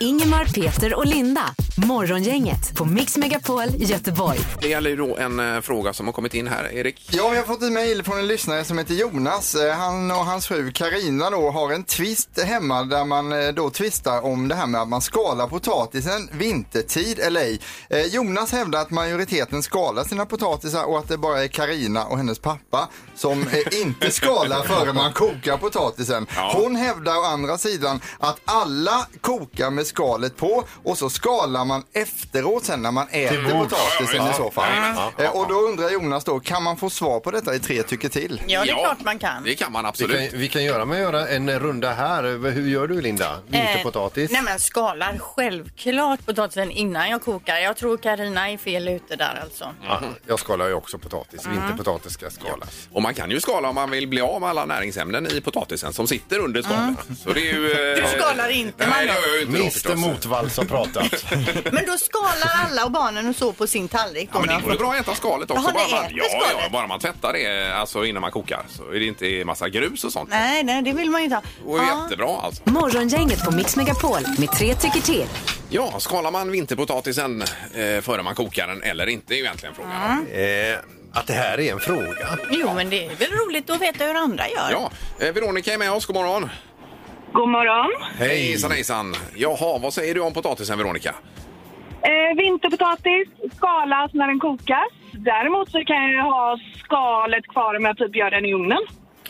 Speaker 4: Ingemar, Peter och Linda. Morgongänget på Mix Megapol Göteborg.
Speaker 5: Det gäller ju då en eh, fråga som har kommit in här, Erik.
Speaker 10: Ja, vi har fått ett mejl från en lyssnare som heter Jonas. Eh, Han och hans fru Karina då har en twist hemma där man eh, då tvistar om det här med att man skalar potatisen vintertid eller ej. Eh, Jonas hävdar att majoriteten skalar sina potatisar och att det bara är Karina och hennes pappa som eh, inte skalar före man kokar potatisen. Hon hävdar å andra sidan att alla kokar med skalet på och så skalar man efteråt sen när man äter
Speaker 3: bords.
Speaker 10: potatisen
Speaker 3: Ja,
Speaker 10: i så fall.
Speaker 5: Mm.
Speaker 3: ja,
Speaker 10: Eh, Och då undrar Jonas då, kan man få svar på detta i tre tycker till?
Speaker 6: Ja, det är klart man kan.
Speaker 5: Det kan man
Speaker 3: Vi kan, vi kan göra, med göra en runda här. Hur gör du Linda? Vinterpotatis?
Speaker 6: Eh, nej men skalar självklart potatisen innan jag kokar. Jag tror Karina är fel ute där alltså.
Speaker 3: Ja, jag skalar ju också potatis.
Speaker 6: Mm.
Speaker 3: Vinterpotatis ska skalas.
Speaker 5: Och man kan ju skala om man vill bli av med alla näringsämnen i potatisen som sitter under skalet. Så det är ju... eh,
Speaker 6: Mm. Du skalar inte
Speaker 5: Nej,
Speaker 6: man
Speaker 5: det
Speaker 6: då.
Speaker 5: gör jag ju inte då,
Speaker 3: Mr
Speaker 5: förstås.
Speaker 3: Motvalls har pratat.
Speaker 6: Men då skalar alla och barnen och så på sin tallrik.
Speaker 5: Ja, men det går ju bra att äta skalet också.
Speaker 6: Jaha,
Speaker 5: bara,
Speaker 6: ni
Speaker 5: man,
Speaker 6: äter
Speaker 5: ja,
Speaker 6: skalet?
Speaker 5: ja, bara man tvättar det alltså, innan man kokar så är det inte massa grus och sånt.
Speaker 6: Nej, nej, det vill man ju inte ha.
Speaker 5: Det går ju jättebra alltså.
Speaker 4: Morgongänget på Mix Megapol med tre tycker till.
Speaker 5: Ja, skalar man vinterpotatisen eh, före man kokar den eller inte är ju egentligen
Speaker 3: *laughs*
Speaker 5: frågan.
Speaker 3: Eh, att det här är en fråga.
Speaker 6: Jo, men det är väl roligt att veta hur andra gör.
Speaker 5: Ja, eh, Veronica är med oss. God morgon.
Speaker 7: God morgon.
Speaker 5: Hej. Hejsan, hejsan. Jaha, vad säger du om potatisen, Veronica?
Speaker 7: Eh, vinterpotatis skalas när den kokas. Däremot så kan jag ha skalet kvar om jag typ gör den i ugnen.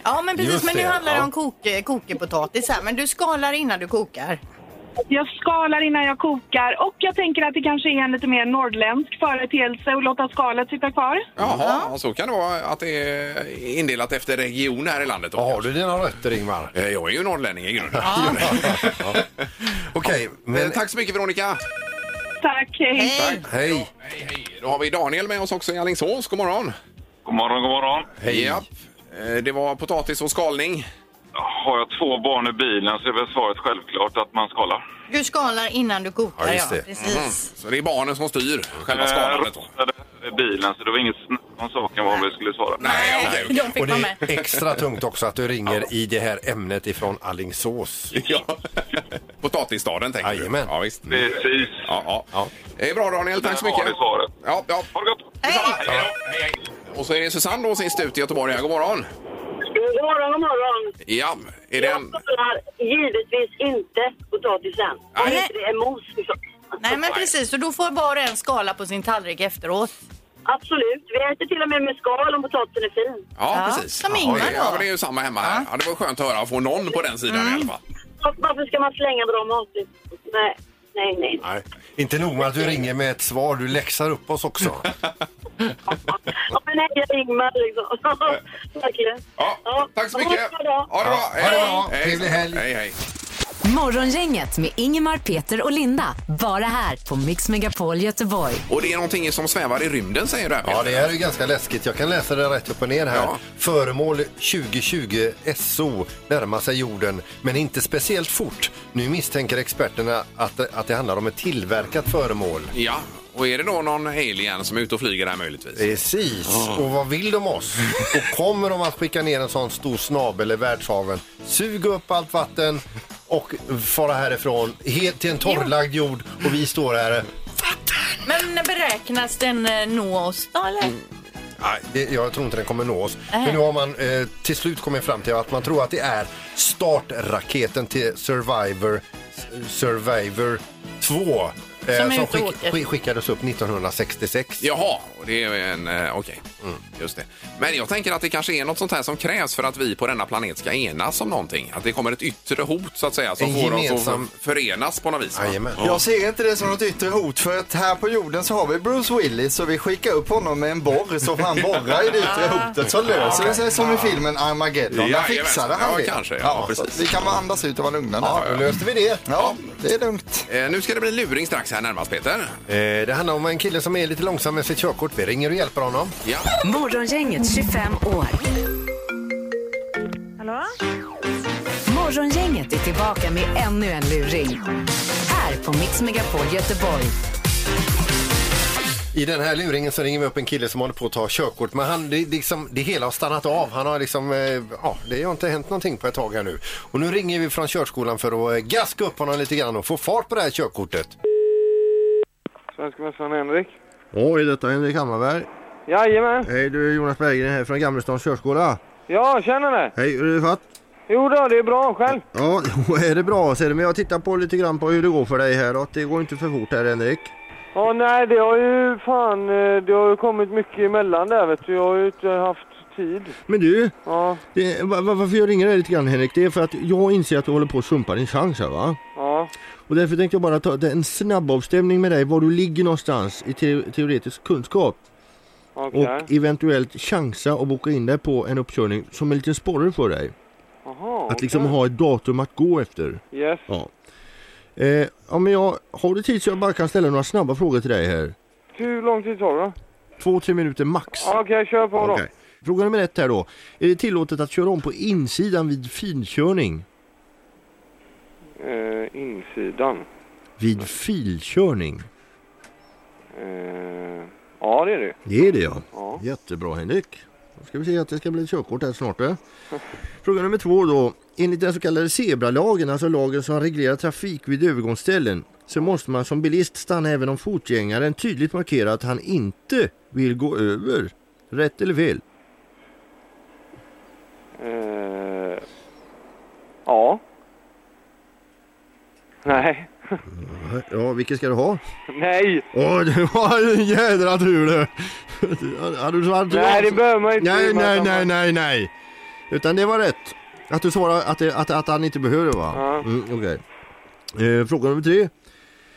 Speaker 6: Ja, men precis.
Speaker 7: Just
Speaker 6: men nu
Speaker 7: det,
Speaker 6: handlar det
Speaker 7: ja.
Speaker 6: om kok, eh, kokepotatis här. Men du skalar innan du
Speaker 5: Mm.
Speaker 6: kokar.
Speaker 7: Jag skalar innan jag kokar och jag tänker att det kanske är en lite mer nordländsk företeelse att låta skalet sitta kvar.
Speaker 5: Jaha, så kan det vara att det är indelat efter region här i landet. Då, har
Speaker 3: du dina rötter, Ingmar?
Speaker 5: Jag är ju norrlänning i grunden. *laughs*
Speaker 3: Okej,
Speaker 5: men... Tack så mycket, Veronica.
Speaker 7: Tack, hej.
Speaker 5: Tack.
Speaker 3: Hej.
Speaker 5: Då har vi Daniel med oss också i Alingsås. God morgon.
Speaker 9: God morgon, god morgon.
Speaker 5: Hej. Eh, Det var potatis och skalning.
Speaker 9: Har jag två barn i bilen så är väl svaret självklart att man skalar.
Speaker 6: Du skalar innan du kokar, ja. precis.
Speaker 5: Mm. Så det är barnen som styr själva
Speaker 9: Eh,
Speaker 5: skalandet? då?
Speaker 9: I bilen, så det var inget snack om saken vad vi skulle svara.
Speaker 5: Nej,
Speaker 3: Och det är extra tungt också att du ringer i det här ämnet ifrån Allingsås.
Speaker 5: *laughs* Ja. Potatisstaden tänker
Speaker 3: Jajamän.
Speaker 5: du? Ja, visst.
Speaker 9: Precis.
Speaker 5: Ja, ja, ja. Det är bra Daniel, tack så
Speaker 9: Där har
Speaker 5: mycket.
Speaker 9: vi svaret.
Speaker 5: Ja, ja. Ha det gott. Och så är det Susanne då sist ut i Göteborg. här. God morgon.
Speaker 12: God morgon, god morgon.
Speaker 5: Ja, är det en...
Speaker 12: Jag kollar givetvis inte potatisen. Om
Speaker 6: Nej.
Speaker 12: inte det är mos. förstås.
Speaker 6: Nej, men precis. Så då får var och en skala på sin tallrik efteråt.
Speaker 12: Absolut. Vi äter till och med med skal om potatisen är fin.
Speaker 5: Ja, precis.
Speaker 6: Som
Speaker 5: Ja,
Speaker 6: Ingmar
Speaker 5: det- ja,
Speaker 6: då. Mm.
Speaker 5: men det är ju samma hemma här. Ja, det var skönt att höra att få någon på den sidan i alla fall.
Speaker 12: Var- Varför ska man slänga bra mat? Nej, nej, nej.
Speaker 3: Nej. Inte nog med att du ringer med ett svar, du läxar upp oss också.
Speaker 12: Ja, men nej, jag ringer liksom. *laughs* Verkligen.
Speaker 5: Ja, tack så
Speaker 12: mycket. Ha det bra.
Speaker 5: Ha det bra.
Speaker 4: Ha det
Speaker 5: bra. Trevlig helg. Hej, hej.
Speaker 4: Morgongänget med Ingemar, Peter och Linda. Bara här på Mix Megapol Göteborg.
Speaker 5: Och det är någonting som svävar i rymden säger du här
Speaker 3: Ja, det här är ju ganska läskigt. Jag kan läsa det rätt upp och ner här.
Speaker 5: Ja.
Speaker 3: Föremål 2020 SO närmar sig jorden, men inte speciellt fort. Nu misstänker experterna att, att det handlar om ett tillverkat föremål.
Speaker 5: Ja, och är det då någon alien som är ute och flyger här möjligtvis?
Speaker 3: Precis. Och vad vill de oss? Och kommer de att skicka ner en sån stor snabel i världshaven, suga upp allt vatten och fara härifrån helt till en torrlagd jord och vi står här.
Speaker 6: Men beräknas den eh, nå oss då, eller?
Speaker 13: Mm.
Speaker 3: Nej, det, jag tror inte den kommer nå oss.
Speaker 6: Nej.
Speaker 3: Men nu har man eh, till slut kommit fram till att man tror att det är startraketen till Survivor, Survivor 2 eh,
Speaker 5: Som är
Speaker 3: som
Speaker 5: ute och
Speaker 3: skick,
Speaker 5: åker.
Speaker 3: skick- skickades upp 1966.
Speaker 5: Jaha, och det är en... Eh, Okej,
Speaker 10: Mm.
Speaker 5: just det. Men jag tänker att det kanske är något sånt här som krävs för att vi på denna planet ska enas om någonting. Att det kommer ett yttre hot så att säga som
Speaker 3: En
Speaker 5: får oss
Speaker 3: gemensam-
Speaker 5: att förenas på något vis. va? Ja.
Speaker 10: Jag ser inte det som något yttre hot för att här på jorden så har vi Bruce Willis och vi skickar upp honom med en borr så får han borra i det yttre hotet så löser det sig som i filmen Armageddon. Där
Speaker 5: Jajamän.
Speaker 10: fixade
Speaker 5: Ja,
Speaker 10: han det.
Speaker 5: kanske. Ja,
Speaker 10: så
Speaker 5: precis.
Speaker 10: Vi kan bara andas ut och vara lugna
Speaker 5: Ja, då löste
Speaker 3: vi det.
Speaker 10: Ja, det är lugnt.
Speaker 5: Eh, nu ska det bli luring strax här närmast Peter.
Speaker 3: Eh, det handlar om en kille som är lite långsam med sitt körkort. Vi ringer och hjälper honom.
Speaker 5: Ja.
Speaker 4: Morgongänget 25 år.
Speaker 7: Hallå?
Speaker 4: Morgongänget är tillbaka med ännu en luring. Här på Mix Megapol Göteborg.
Speaker 3: I den här luringen så ringer vi upp en kille som håller på att ta körkort. Men han, det, liksom, det hela har stannat av. Han har liksom, eh, ja, det har inte hänt någonting på ett tag här nu. Och nu ringer vi från körskolan för att eh, gaska upp honom lite grann och få fart på det här körkortet.
Speaker 13: Svenska mästaren Henrik.
Speaker 14: Ja, är detta Henrik Hammarberg?
Speaker 13: Jajamän.
Speaker 14: Hej, du är Jonas Berggren här från Gamlestans körskola.
Speaker 13: Ja, känner det.
Speaker 14: Hej, hur är det fatt?
Speaker 13: Jo då, det är bra själv.
Speaker 14: Ja, *laughs* jo, är det bra ser du, men jag tittar på lite grann på hur det går för dig här och det går inte för fort här Henrik.
Speaker 13: Ja, nej, det har ju fan, eh, det har ju kommit mycket emellan där vet du. Jag har ju inte haft tid.
Speaker 14: Men du,
Speaker 13: Ja,
Speaker 14: det, va- va- varför jag ringer dig lite grann Henrik, det är för att jag inser att du håller på att sumpa din chans här va?
Speaker 13: ja.
Speaker 14: Och därför tänkte jag bara ta en snabbavstämning med dig, var du ligger någonstans i te- teoretisk kunskap.
Speaker 13: Okej.
Speaker 14: Och eventuellt chansa och boka in dig på en uppkörning som en liten sporre för dig.
Speaker 13: Jaha,
Speaker 14: Att liksom
Speaker 13: okej.
Speaker 14: ha ett datum att gå efter.
Speaker 13: Yes.
Speaker 14: Ja. Eh, ja, men jag, har du tid så jag bara kan ställa några snabba frågor till dig här?
Speaker 13: Hur lång tid tar det då?
Speaker 14: Två, tre minuter max.
Speaker 13: Ja, Okej, kör på då.
Speaker 14: Okej. Fråga nummer ett här då. Är det tillåtet att köra om på insidan vid finkörning?
Speaker 13: Eh, insidan.
Speaker 14: Vid filkörning?
Speaker 13: Eh, ja, det är det.
Speaker 14: Det är det ja.
Speaker 13: Ja.
Speaker 14: Jättebra Henrik. Då ska vi se att det ska bli ett körkort här snart. Eh? Fråga nummer två då. Enligt den så kallade zebralagen, alltså lagen som reglerar trafik vid övergångsställen, så måste man som bilist stanna även om fotgängaren tydligt markerar att han inte vill gå över. Rätt eller fel?
Speaker 13: Eh, ja. Nej.
Speaker 14: Ja, vilken ska du ha?
Speaker 13: Nej!
Speaker 14: Åh, *laughs* det var en jädra tur du! Hade du svarat
Speaker 13: Nej, det behöver man inte.
Speaker 14: Nej,
Speaker 13: Det är
Speaker 14: nej,
Speaker 13: bara-
Speaker 14: nej, nej, nej! Utan det var rätt. Att du svarade att, det, att, att han inte behöver va?
Speaker 13: Ja.
Speaker 14: Mm, okej. eh, fråga nummer tre.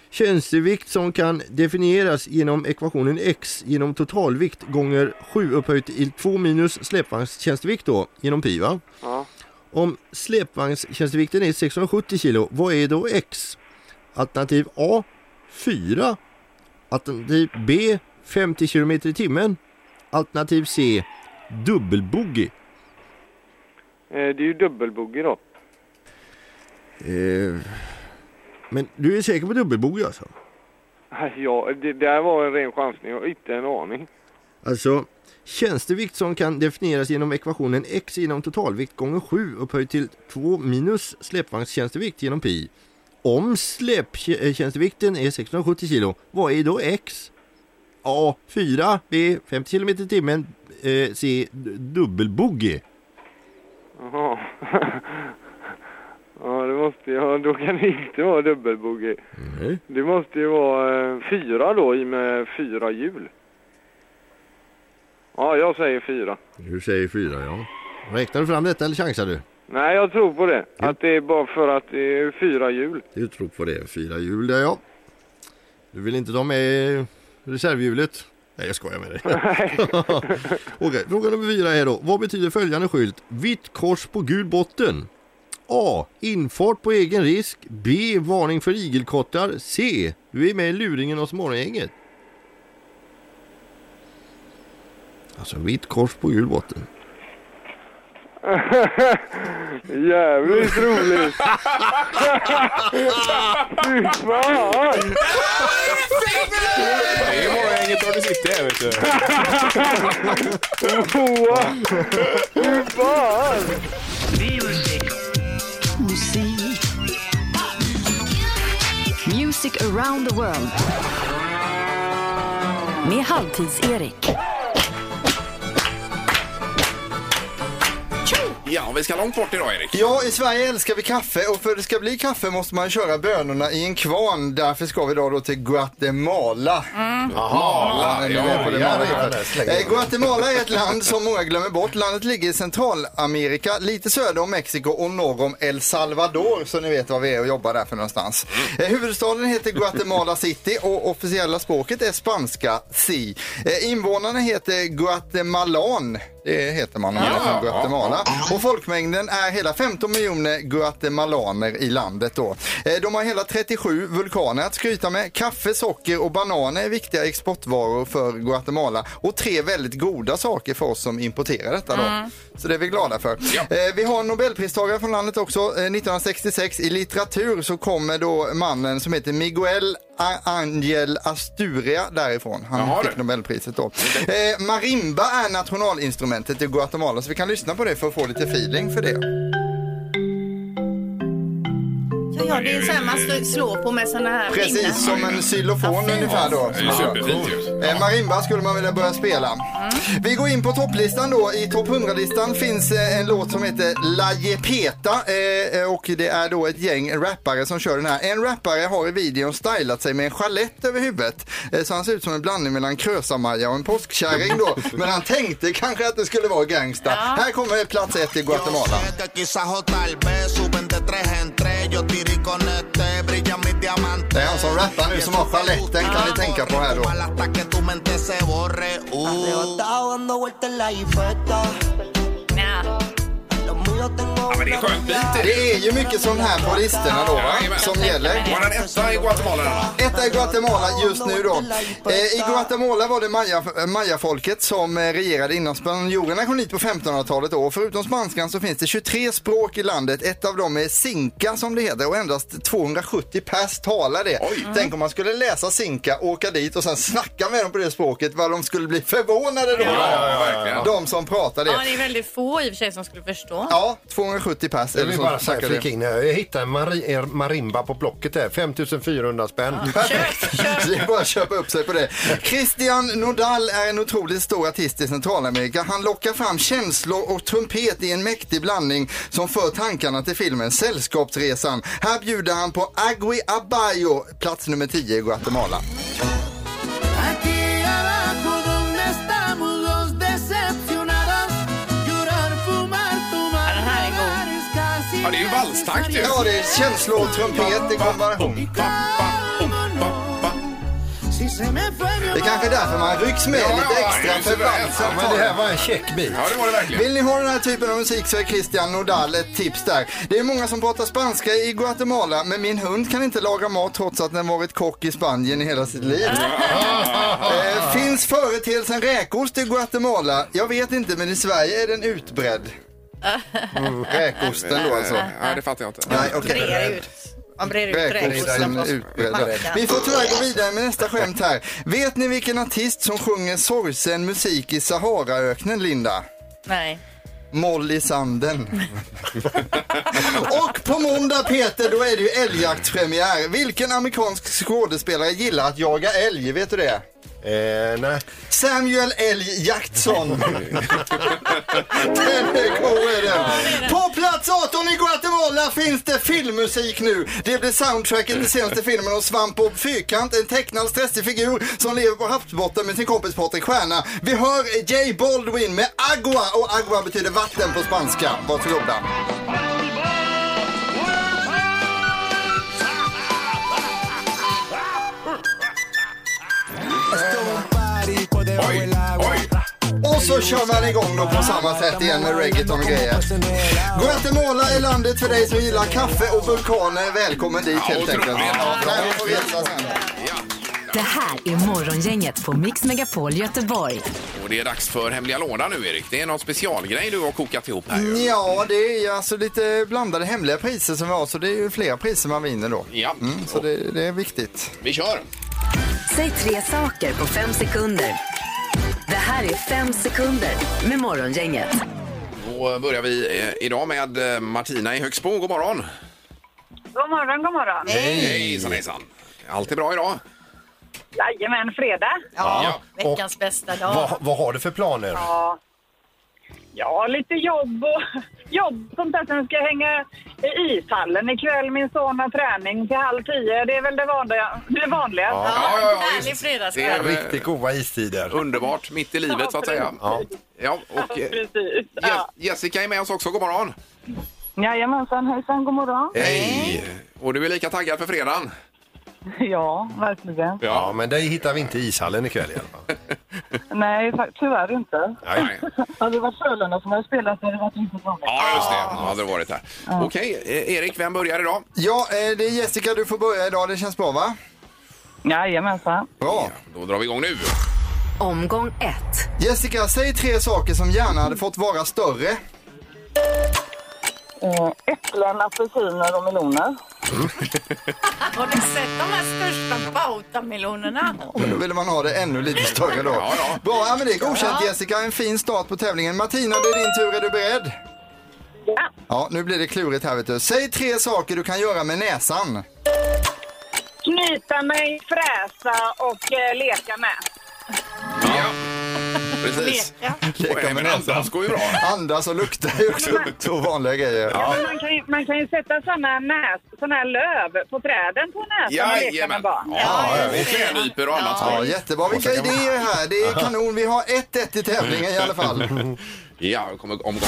Speaker 14: Tjänstevikt som kan definieras genom ekvationen x genom totalvikt gånger 7 upphöjt till 2 minus släpvagnstjänstevikt då genom pi va?
Speaker 13: Ja.
Speaker 14: Om släpvagnstjänstevikten är 670 kilo, vad är då X? Alternativ A 4 Alternativ B 50 km i timmen Alternativ C dubbelboogie
Speaker 13: Eh, det är ju dubbelboogie då.
Speaker 14: eh, Men du är säker på dubbelboogie alltså?
Speaker 13: Nej, Ja, det där var en ren chansning. Jag har inte en aning.
Speaker 14: Alltså tjänstevikt som kan definieras genom ekvationen X genom totalvikt gånger 7 upphöjt till 2 minus släpvagnstjänstevikt genom pi Om släptjänstevikten är 670 kilo, vad är då X? A 4, B 50 km i timmen, eh, C d- dubbelboogie.
Speaker 13: Jaha. *laughs* ja, det måste jag. Då kan det inte vara dubbelboogie.
Speaker 14: Nej.
Speaker 13: Det måste ju vara eh, fyra då, i och med fyra hjul. Ja, jag säger fyra.
Speaker 14: Du säger 4 ja. Räknar du fram detta eller chansar du?
Speaker 13: Nej, jag tror på det. Att det är bara för att det är fyra hjul.
Speaker 14: Du tror på det, fyra hjul där ja. Du vill inte ta med reservhjulet? Nej, jag skojar med dig. *laughs* Okej, fråga nummer fyra är då. Vad betyder följande skylt? Vitt kors på gul botten. A. Infart på egen risk. B. Varning för igelkottar. C. Du är med i luringen hos morgongänget. Alltså vitt kors på gul botten.
Speaker 13: Jävligt roligt! Fy fan!
Speaker 15: Det är bara inget Party City här vet du.
Speaker 13: Fy fan!
Speaker 4: Musik. Music around the world. Med Halvtids-Erik.
Speaker 5: Ja, vi ska långt bort idag Erik.
Speaker 10: Ja, i Sverige älskar vi kaffe och för att det ska bli kaffe måste man köra bönorna i en kvarn. Därför ska vi idag då till Guatemala. Mm.
Speaker 5: Mala,
Speaker 10: Mala,
Speaker 5: ja,
Speaker 10: ja, på det
Speaker 5: ja,
Speaker 10: Mala.
Speaker 5: ja, där slänger
Speaker 10: Eh, Guatemala är ett land som många glömmer bort. Landet ligger i Centralamerika, lite söder om Mexiko och norr om El Salvador. Så ni vet var vi är och jobbar där för någonstans.
Speaker 5: Mm.
Speaker 10: Eh, huvudstaden heter Guatemala City och officiella språket är spanska, si. Eh, invånarna heter Guatemalan. Det heter man om man är från Guatemala. Och folkmängden är hela 15 miljoner guatemalaner i landet då. Eh, De har hela 37 vulkaner att skryta med. Kaffe, socker och bananer är viktiga exportvaror för Guatemala och tre väldigt goda saker för oss som importerar detta då.
Speaker 15: Mm.
Speaker 10: Så det är vi glada för. Eh, Vi har en nobelpristagare från landet också. Eh, 1966 i litteratur så kommer då mannen som heter Miguel A- Angel Asturia därifrån. Han
Speaker 5: Jaha,
Speaker 10: fick
Speaker 5: du.
Speaker 10: Nobelpriset då. Eh, marimba är nationalinstrumentet i Guatemala så vi kan lyssna på det för att få lite feeling för det.
Speaker 6: Ja, ja, det är så här man slår- slår på med såna här pinnar.
Speaker 10: Precis, som en xylofon ungefär då.
Speaker 15: det är superfint ju.
Speaker 10: Eh, Marimba skulle man vilja börja spela. Vi går in på topplistan då. I topp 100-listan finns eh, en låt som heter La Jepeta eh, eh, och det är då ett gäng rappare som kör den här. En rappare har i videon stylat sig med en chalett över huvudet eh, så han ser ut som en blandning mellan Krösa-Maja och en
Speaker 15: *laughs*
Speaker 10: påskkärring då. Men han tänkte kanske att det skulle vara gangsta. Här kommer plats ett i Guatemala.
Speaker 16: Que quizás o tal vez suben de tres en tres. Yo tiro y con este brillan mis diamantes.
Speaker 10: Det är han som rappar nu som har chaletten kan ni tänka på här då.
Speaker 16: Hasta que tu mente se borre. Uh. Estaba dando vueltas en la jipeta.
Speaker 5: Ja, men det är skönt bit det.
Speaker 10: Det är ju mycket sån här på listorna då, va? som gäller.
Speaker 5: Var den etta i Guatemala? eller?
Speaker 10: Etta i Guatemala just nu då. Eh, I Guatemala var det maya- mayafolket som eh, regerade innan spanjorerna kom hit på 1500-talet. Då. Och Förutom spanskan så finns det 23 språk i landet. Ett av dem är sinka som det heter och endast 270 pers talar det. Tänk om man skulle läsa sinka, åka dit och sen snacka med dem på det språket vad de skulle bli förvånade då.
Speaker 6: Ja,
Speaker 5: ja, ja, verkligen.
Speaker 10: De som pratar det.
Speaker 6: Ja, det är väldigt få i och för sig som skulle förstå.
Speaker 10: Ja, 270 70 pass.
Speaker 3: Jag vill
Speaker 10: så
Speaker 3: bara
Speaker 10: tackar
Speaker 3: säga flika in här. Jag hittade en mari- en marimba på Blocket där. 5400 spänn.
Speaker 10: Perfekt. Det är bara att köpa upp sig på det. Christian Nodal är en otroligt stor artist i Centralamerika. Han lockar fram känslor och trumpet i en mäktig blandning som för tankarna till filmen Sällskapsresan. Här bjuder han på Agui Abayo, plats nummer 10 i Guatemala.
Speaker 17: Aquí abajo donde estamos los decepcionados Llorar, fumar, tomar, jugar es casi
Speaker 10: Ja, det är ju valstakt ju.
Speaker 17: necesario.
Speaker 10: Ja, det är känslor och trumpet i kombination.
Speaker 17: Si se me fue mi
Speaker 10: Det är kanske är därför man rycks med lite extra för valsen.
Speaker 3: men det här var en check bit.
Speaker 10: Vill ni ha den här typen av musik så är Christian Nodal ett tips där. Det är många som pratar spanska i Guatemala, men min hund kan inte laga mat trots att den varit kock i Spanien i hela sitt liv. eh, finns företeelsen räkost i Guatemala? Jag vet inte, men i Sverige är
Speaker 6: *laughs*
Speaker 10: den utbredd. Räkosten då alltså.
Speaker 5: Nej, det fattar jag inte.
Speaker 10: Nej, okej.
Speaker 6: Breder ut. Man breder ut
Speaker 10: Räkosten
Speaker 6: räkosten.
Speaker 10: utbredda.
Speaker 6: Mackan.
Speaker 10: Vi får tyvärr gå vidare med nästa skämt här. Vet ni vilken artist som sjunger sorgsen musik i Saharaöknen, Linda?
Speaker 6: Nej.
Speaker 10: Moll i sanden. Och på måndag Peter, då är det ju älgjaktspremiär. Vilken amerikansk skådespelare gillar att jaga älg? Vet du det?
Speaker 3: Eh, nej.
Speaker 10: Samuel Älg Jackson. den är god är den. På plats 18 i Guatemala finns det filmmusik nu. Det blir soundtracket till senaste filmen om Svampbob Fyrkant, en tecknad stressig figur som lever på havsbotten med sin kompis Patrik Stjärna. Vi hör J Baldwin med Agua och Agua betyder vatten på spanska. Varsågoda. Och så kör man igång då på samma sätt igen med reggaeton och grejer. Guatemala är landet för dig som gillar kaffe och vulkaner. Välkommen dit helt enkelt. Där får vi veta sen.
Speaker 4: Det här är Morgongänget på Mix Megapol Göteborg.
Speaker 5: Och det är dags för hemliga lådan nu Erik. Det är någon specialgrej du har kokat ihop här.
Speaker 10: Ja, det är ju alltså lite blandade hemliga priser som vi har, så det är ju flera priser man vinner då.
Speaker 5: Ja.
Speaker 10: Mm, så det, det är viktigt.
Speaker 5: Vi kör!
Speaker 4: Säg tre saker på fem sekunder. Det här är fem sekunder med Morgongänget.
Speaker 5: Då börjar vi eh, idag med eh, Martina i Högsbo. God morgon!
Speaker 7: God morgon, god morgon.
Speaker 5: Hejsan hejsan! Allt är bra idag?
Speaker 7: Jajamän, fredag.
Speaker 3: Ja, Ja.
Speaker 7: veckans bästa
Speaker 3: Vad, vad har du för planer?
Speaker 7: Ja. ja, lite jobb och *laughs* jobb som sen ska jag hänga i ishallen ikväll. Min son har träning till halv tio. Det är väl det vanliga. Det vanliga.
Speaker 3: Ja, ja, ja,
Speaker 7: härlig fredagskväll.
Speaker 3: Riktigt goda istider.
Speaker 5: eh, Underbart, mitt i livet så att säga. Ja, ja och eh,
Speaker 7: Precis.
Speaker 5: Je- Jessica är med oss också. God morgon!
Speaker 7: Jajamensan, hejsan, god morgon.
Speaker 5: Hej! Eh, Och du är lika taggad för fredagen?
Speaker 7: *laughs* Ja, verkligen.
Speaker 3: Ja, men dig hittar vi inte i ishallen ikväll i alla fall.
Speaker 7: Nej, fa- tyvärr inte.
Speaker 5: Nej, nej.
Speaker 7: Hade det varit Frölunda som hade spelat så hade det varit riktigt roligt.
Speaker 5: Ja, just det. hade det varit här. Okej, eh, Erik, vem börjar idag?
Speaker 10: Ja, eh, det är Jessica, du får börja idag. Det känns bra va?
Speaker 7: Jajamensan.
Speaker 10: Bra.
Speaker 5: Då drar vi igång nu.
Speaker 4: Omgång ett.
Speaker 10: Jessica, säg tre saker som gärna hade fått vara större.
Speaker 7: Eh, Äpplen, apelsiner och meloner.
Speaker 6: *laughs* Har ni sett de här största bautamelonerna?
Speaker 10: Men då ville man ha det ännu lite större då.
Speaker 6: *laughs* Ja, ja.
Speaker 10: Bra, ja, men det är godkänt
Speaker 6: Ja.
Speaker 10: Jessica. En fin start på tävlingen. Martina, det är din tur. Är du beredd? Ja. Ja, nu blir det klurigt här vet du. Säg tre saker du kan göra med näsan.
Speaker 7: Knyta mig, fräsa och eh, leka med.
Speaker 5: Ja, precis.
Speaker 10: Leka med
Speaker 5: näsan. Andas går ju bra.
Speaker 10: Andas och lukta är ju också två vanliga grejer.
Speaker 7: Ja. men man, kan ju, man kan ju sätta såna, näs, såna här löv på träden på näsan och leka med
Speaker 5: Jajamän.
Speaker 7: barn.
Speaker 5: Ja, och klädnypor och annat.
Speaker 10: Ja, jättebra. Vilka idéer här. Det är kanon. Vi har 1-1 i tävlingen i alla fall.
Speaker 6: *laughs*
Speaker 5: Ja, det kommer omgång.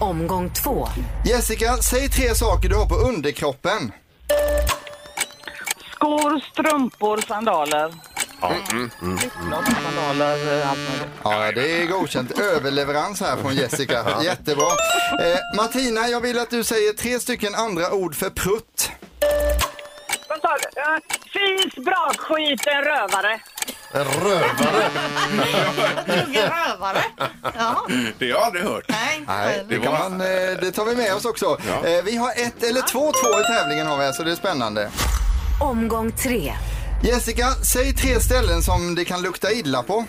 Speaker 4: Omgång två.
Speaker 10: Jessica, säg tre saker du har på underkroppen.
Speaker 7: Skor, strumpor, sandaler.
Speaker 10: Ja,
Speaker 7: Sandaler, eh, allt möjligt.
Speaker 10: det är godkänt. Överleverans här från Jessica.
Speaker 7: Ja.
Speaker 10: Jättebra. Eh, Martina, jag vill att du säger tre stycken andra ord för prutt.
Speaker 7: Vad sa du? Eh, Fis, brakskit, en rövare.
Speaker 3: En rövare.
Speaker 6: Unge rövare. Ja.
Speaker 5: *laughs* Det har jag aldrig hört.
Speaker 10: Nej, det, kan man, eh, det tar vi med oss också.
Speaker 5: Ja.
Speaker 10: Eh, vi har ett eller två två i tävlingen har vi här, så det är spännande.
Speaker 4: Omgång tre.
Speaker 10: Jessica, säg tre ställen som det kan lukta illa på.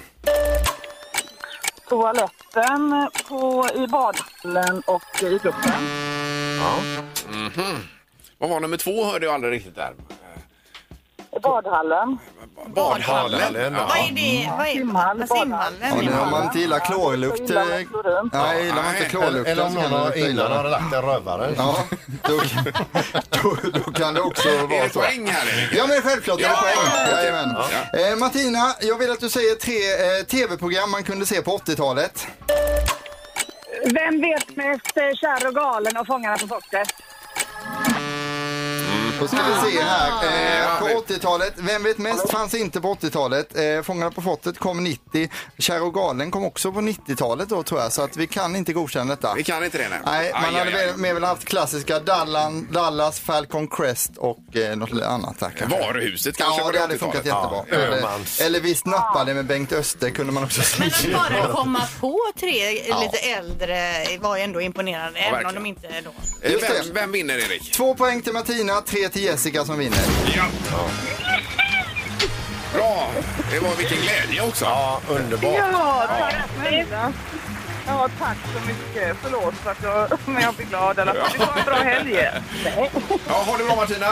Speaker 7: Toaletten, på, i badhallen och i duschen.
Speaker 5: Mhm. Vad var nummer två hörde jag aldrig riktigt där.
Speaker 7: Badhallen.
Speaker 5: Badhallen.
Speaker 6: Vad är det? Vad är Simhall,
Speaker 10: Ja,
Speaker 6: simhallen?
Speaker 10: nu om man inte gillar
Speaker 6: Så
Speaker 10: klorlukt...
Speaker 6: gillar man
Speaker 10: eh,
Speaker 6: inte runt.
Speaker 10: Nej, gillar man inte
Speaker 3: Nej,
Speaker 10: klorlukt.
Speaker 3: eller om
Speaker 10: så kan
Speaker 3: någon
Speaker 10: man
Speaker 3: har-
Speaker 10: inte gilla
Speaker 3: innan
Speaker 10: det.
Speaker 3: har lagt en rövare.
Speaker 10: Ja, då, då, då kan det också vara så.
Speaker 5: poäng här, Erik?
Speaker 10: Ja, men självklart är det
Speaker 5: Ja!
Speaker 10: poäng. Jajamän. Eh, Martina, jag vill att du säger tre eh, tv-program man kunde se på 80-talet.
Speaker 7: Vem vet mest eh, Kär och galen och Fångarna på fortet?
Speaker 10: Då ska vi se här.
Speaker 5: Ah.
Speaker 10: Eh, på 80-talet, Vem vet mest fanns inte på 80-talet. Eh, Fångarna på fortet kom 90. Kär och galen kom också på 90-talet då tror jag, så att vi kan inte godkänna detta.
Speaker 5: Vi kan inte det. Nej,
Speaker 10: Nej, man
Speaker 5: Aj,
Speaker 10: hade
Speaker 5: aj, aj.
Speaker 10: väl- mer väl haft klassiska Dallan, Dallas, Falcon Crest och eh, något annat där kanske.
Speaker 5: Varuhuset kanske
Speaker 10: Ja,
Speaker 5: var
Speaker 10: det
Speaker 5: det
Speaker 10: hade funkat
Speaker 5: 80-talet.
Speaker 10: jättebra.
Speaker 5: Ja, Öhmans.
Speaker 10: eller, eller visst nappade med Bengt Öster kunde man också säga.
Speaker 6: Men att bara komma på tre
Speaker 10: Ja.
Speaker 6: lite äldre var ju ändå imponerande,
Speaker 10: Ja,
Speaker 6: även om
Speaker 10: verkligen.
Speaker 6: de inte då...
Speaker 5: Eh,
Speaker 10: Just
Speaker 5: Vem, vem vinner Erik?
Speaker 10: Två poäng till Martina, tre till Jessica som vinner.
Speaker 5: Ja. Bra! Det var vilken glädje också. Ja, underbart.
Speaker 7: Ja, tack snälla. Ja, tack så mycket. Förlåt för att jag, *laughs* men jag blir glad i alla fall. Det var en bra helg.
Speaker 5: Ja, ha det bra Martina!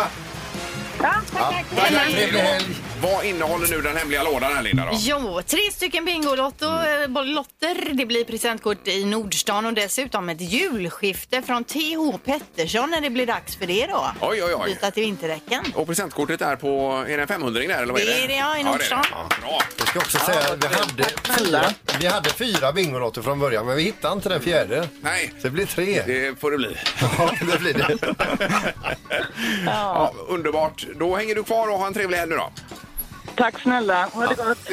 Speaker 7: Ja, tack,
Speaker 5: Tack,
Speaker 7: tack.
Speaker 5: hej då. Vad innehåller nu den hemliga lådan här Linda då?
Speaker 6: Jo, tre stycken Bingolotto, eh, lotter. Det blir presentkort i Nordstan och dessutom ett julskifte från T.H. Pettersson när det blir dags för det då.
Speaker 5: Oj, oj, oj.
Speaker 6: Byta till vinterdäcken.
Speaker 5: Och presentkortet är på, är det en 500 där eller vad är det?
Speaker 6: Det är det, ja, i
Speaker 5: det är det.
Speaker 6: Nordstan.
Speaker 5: Bra!
Speaker 3: Jag ska också säga att vi hade fyra, vi hade fyra bingolotter från början men vi hittade inte den fjärde.
Speaker 5: Nej.
Speaker 3: Så det blir tre.
Speaker 5: Det får
Speaker 6: *laughs*
Speaker 5: det bli.
Speaker 3: *laughs* Ja, det blir det.
Speaker 5: Ja, underbart. Då hänger du kvar och ha en trevlig helg nu då.
Speaker 7: Tack snälla. Ha det gott.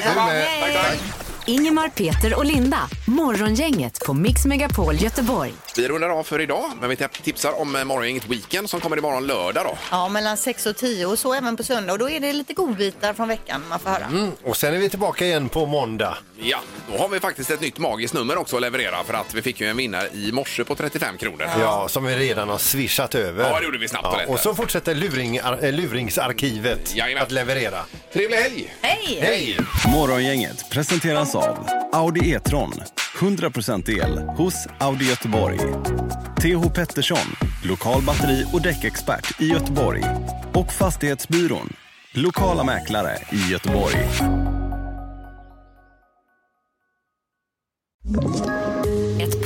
Speaker 4: Ingemar, Peter och Linda. Morgongänget på Mix Megapol Göteborg.
Speaker 5: Vi rundar av för idag, men vi tipsar om eh, Morgongänget Weekend som kommer imorgon lördag då.
Speaker 6: Ja, mellan 6 och 10 och så även på söndag. Och då är det lite godbitar från veckan man får höra.
Speaker 3: Mm, och sen är vi tillbaka igen på måndag.
Speaker 5: Ja, då har vi faktiskt ett nytt magiskt nummer också att leverera för att vi fick ju en vinnare i morse på 35 kronor.
Speaker 3: Ja, som vi redan har swishat över.
Speaker 5: Ja, det gjorde vi snabbt och lätt.
Speaker 3: och så fortsätter luring, ar, eh, luringsarkivet att leverera.
Speaker 5: Trevlig helg!
Speaker 6: Hej!
Speaker 3: Hej!
Speaker 18: Morgongänget presenteras av Audi E-tron. 100% el hos Audi Göteborg. TH Pettersson, lokal batteri och däckexpert i Göteborg. Och Fastighetsbyrån, lokala mäklare i Göteborg.
Speaker 19: Ett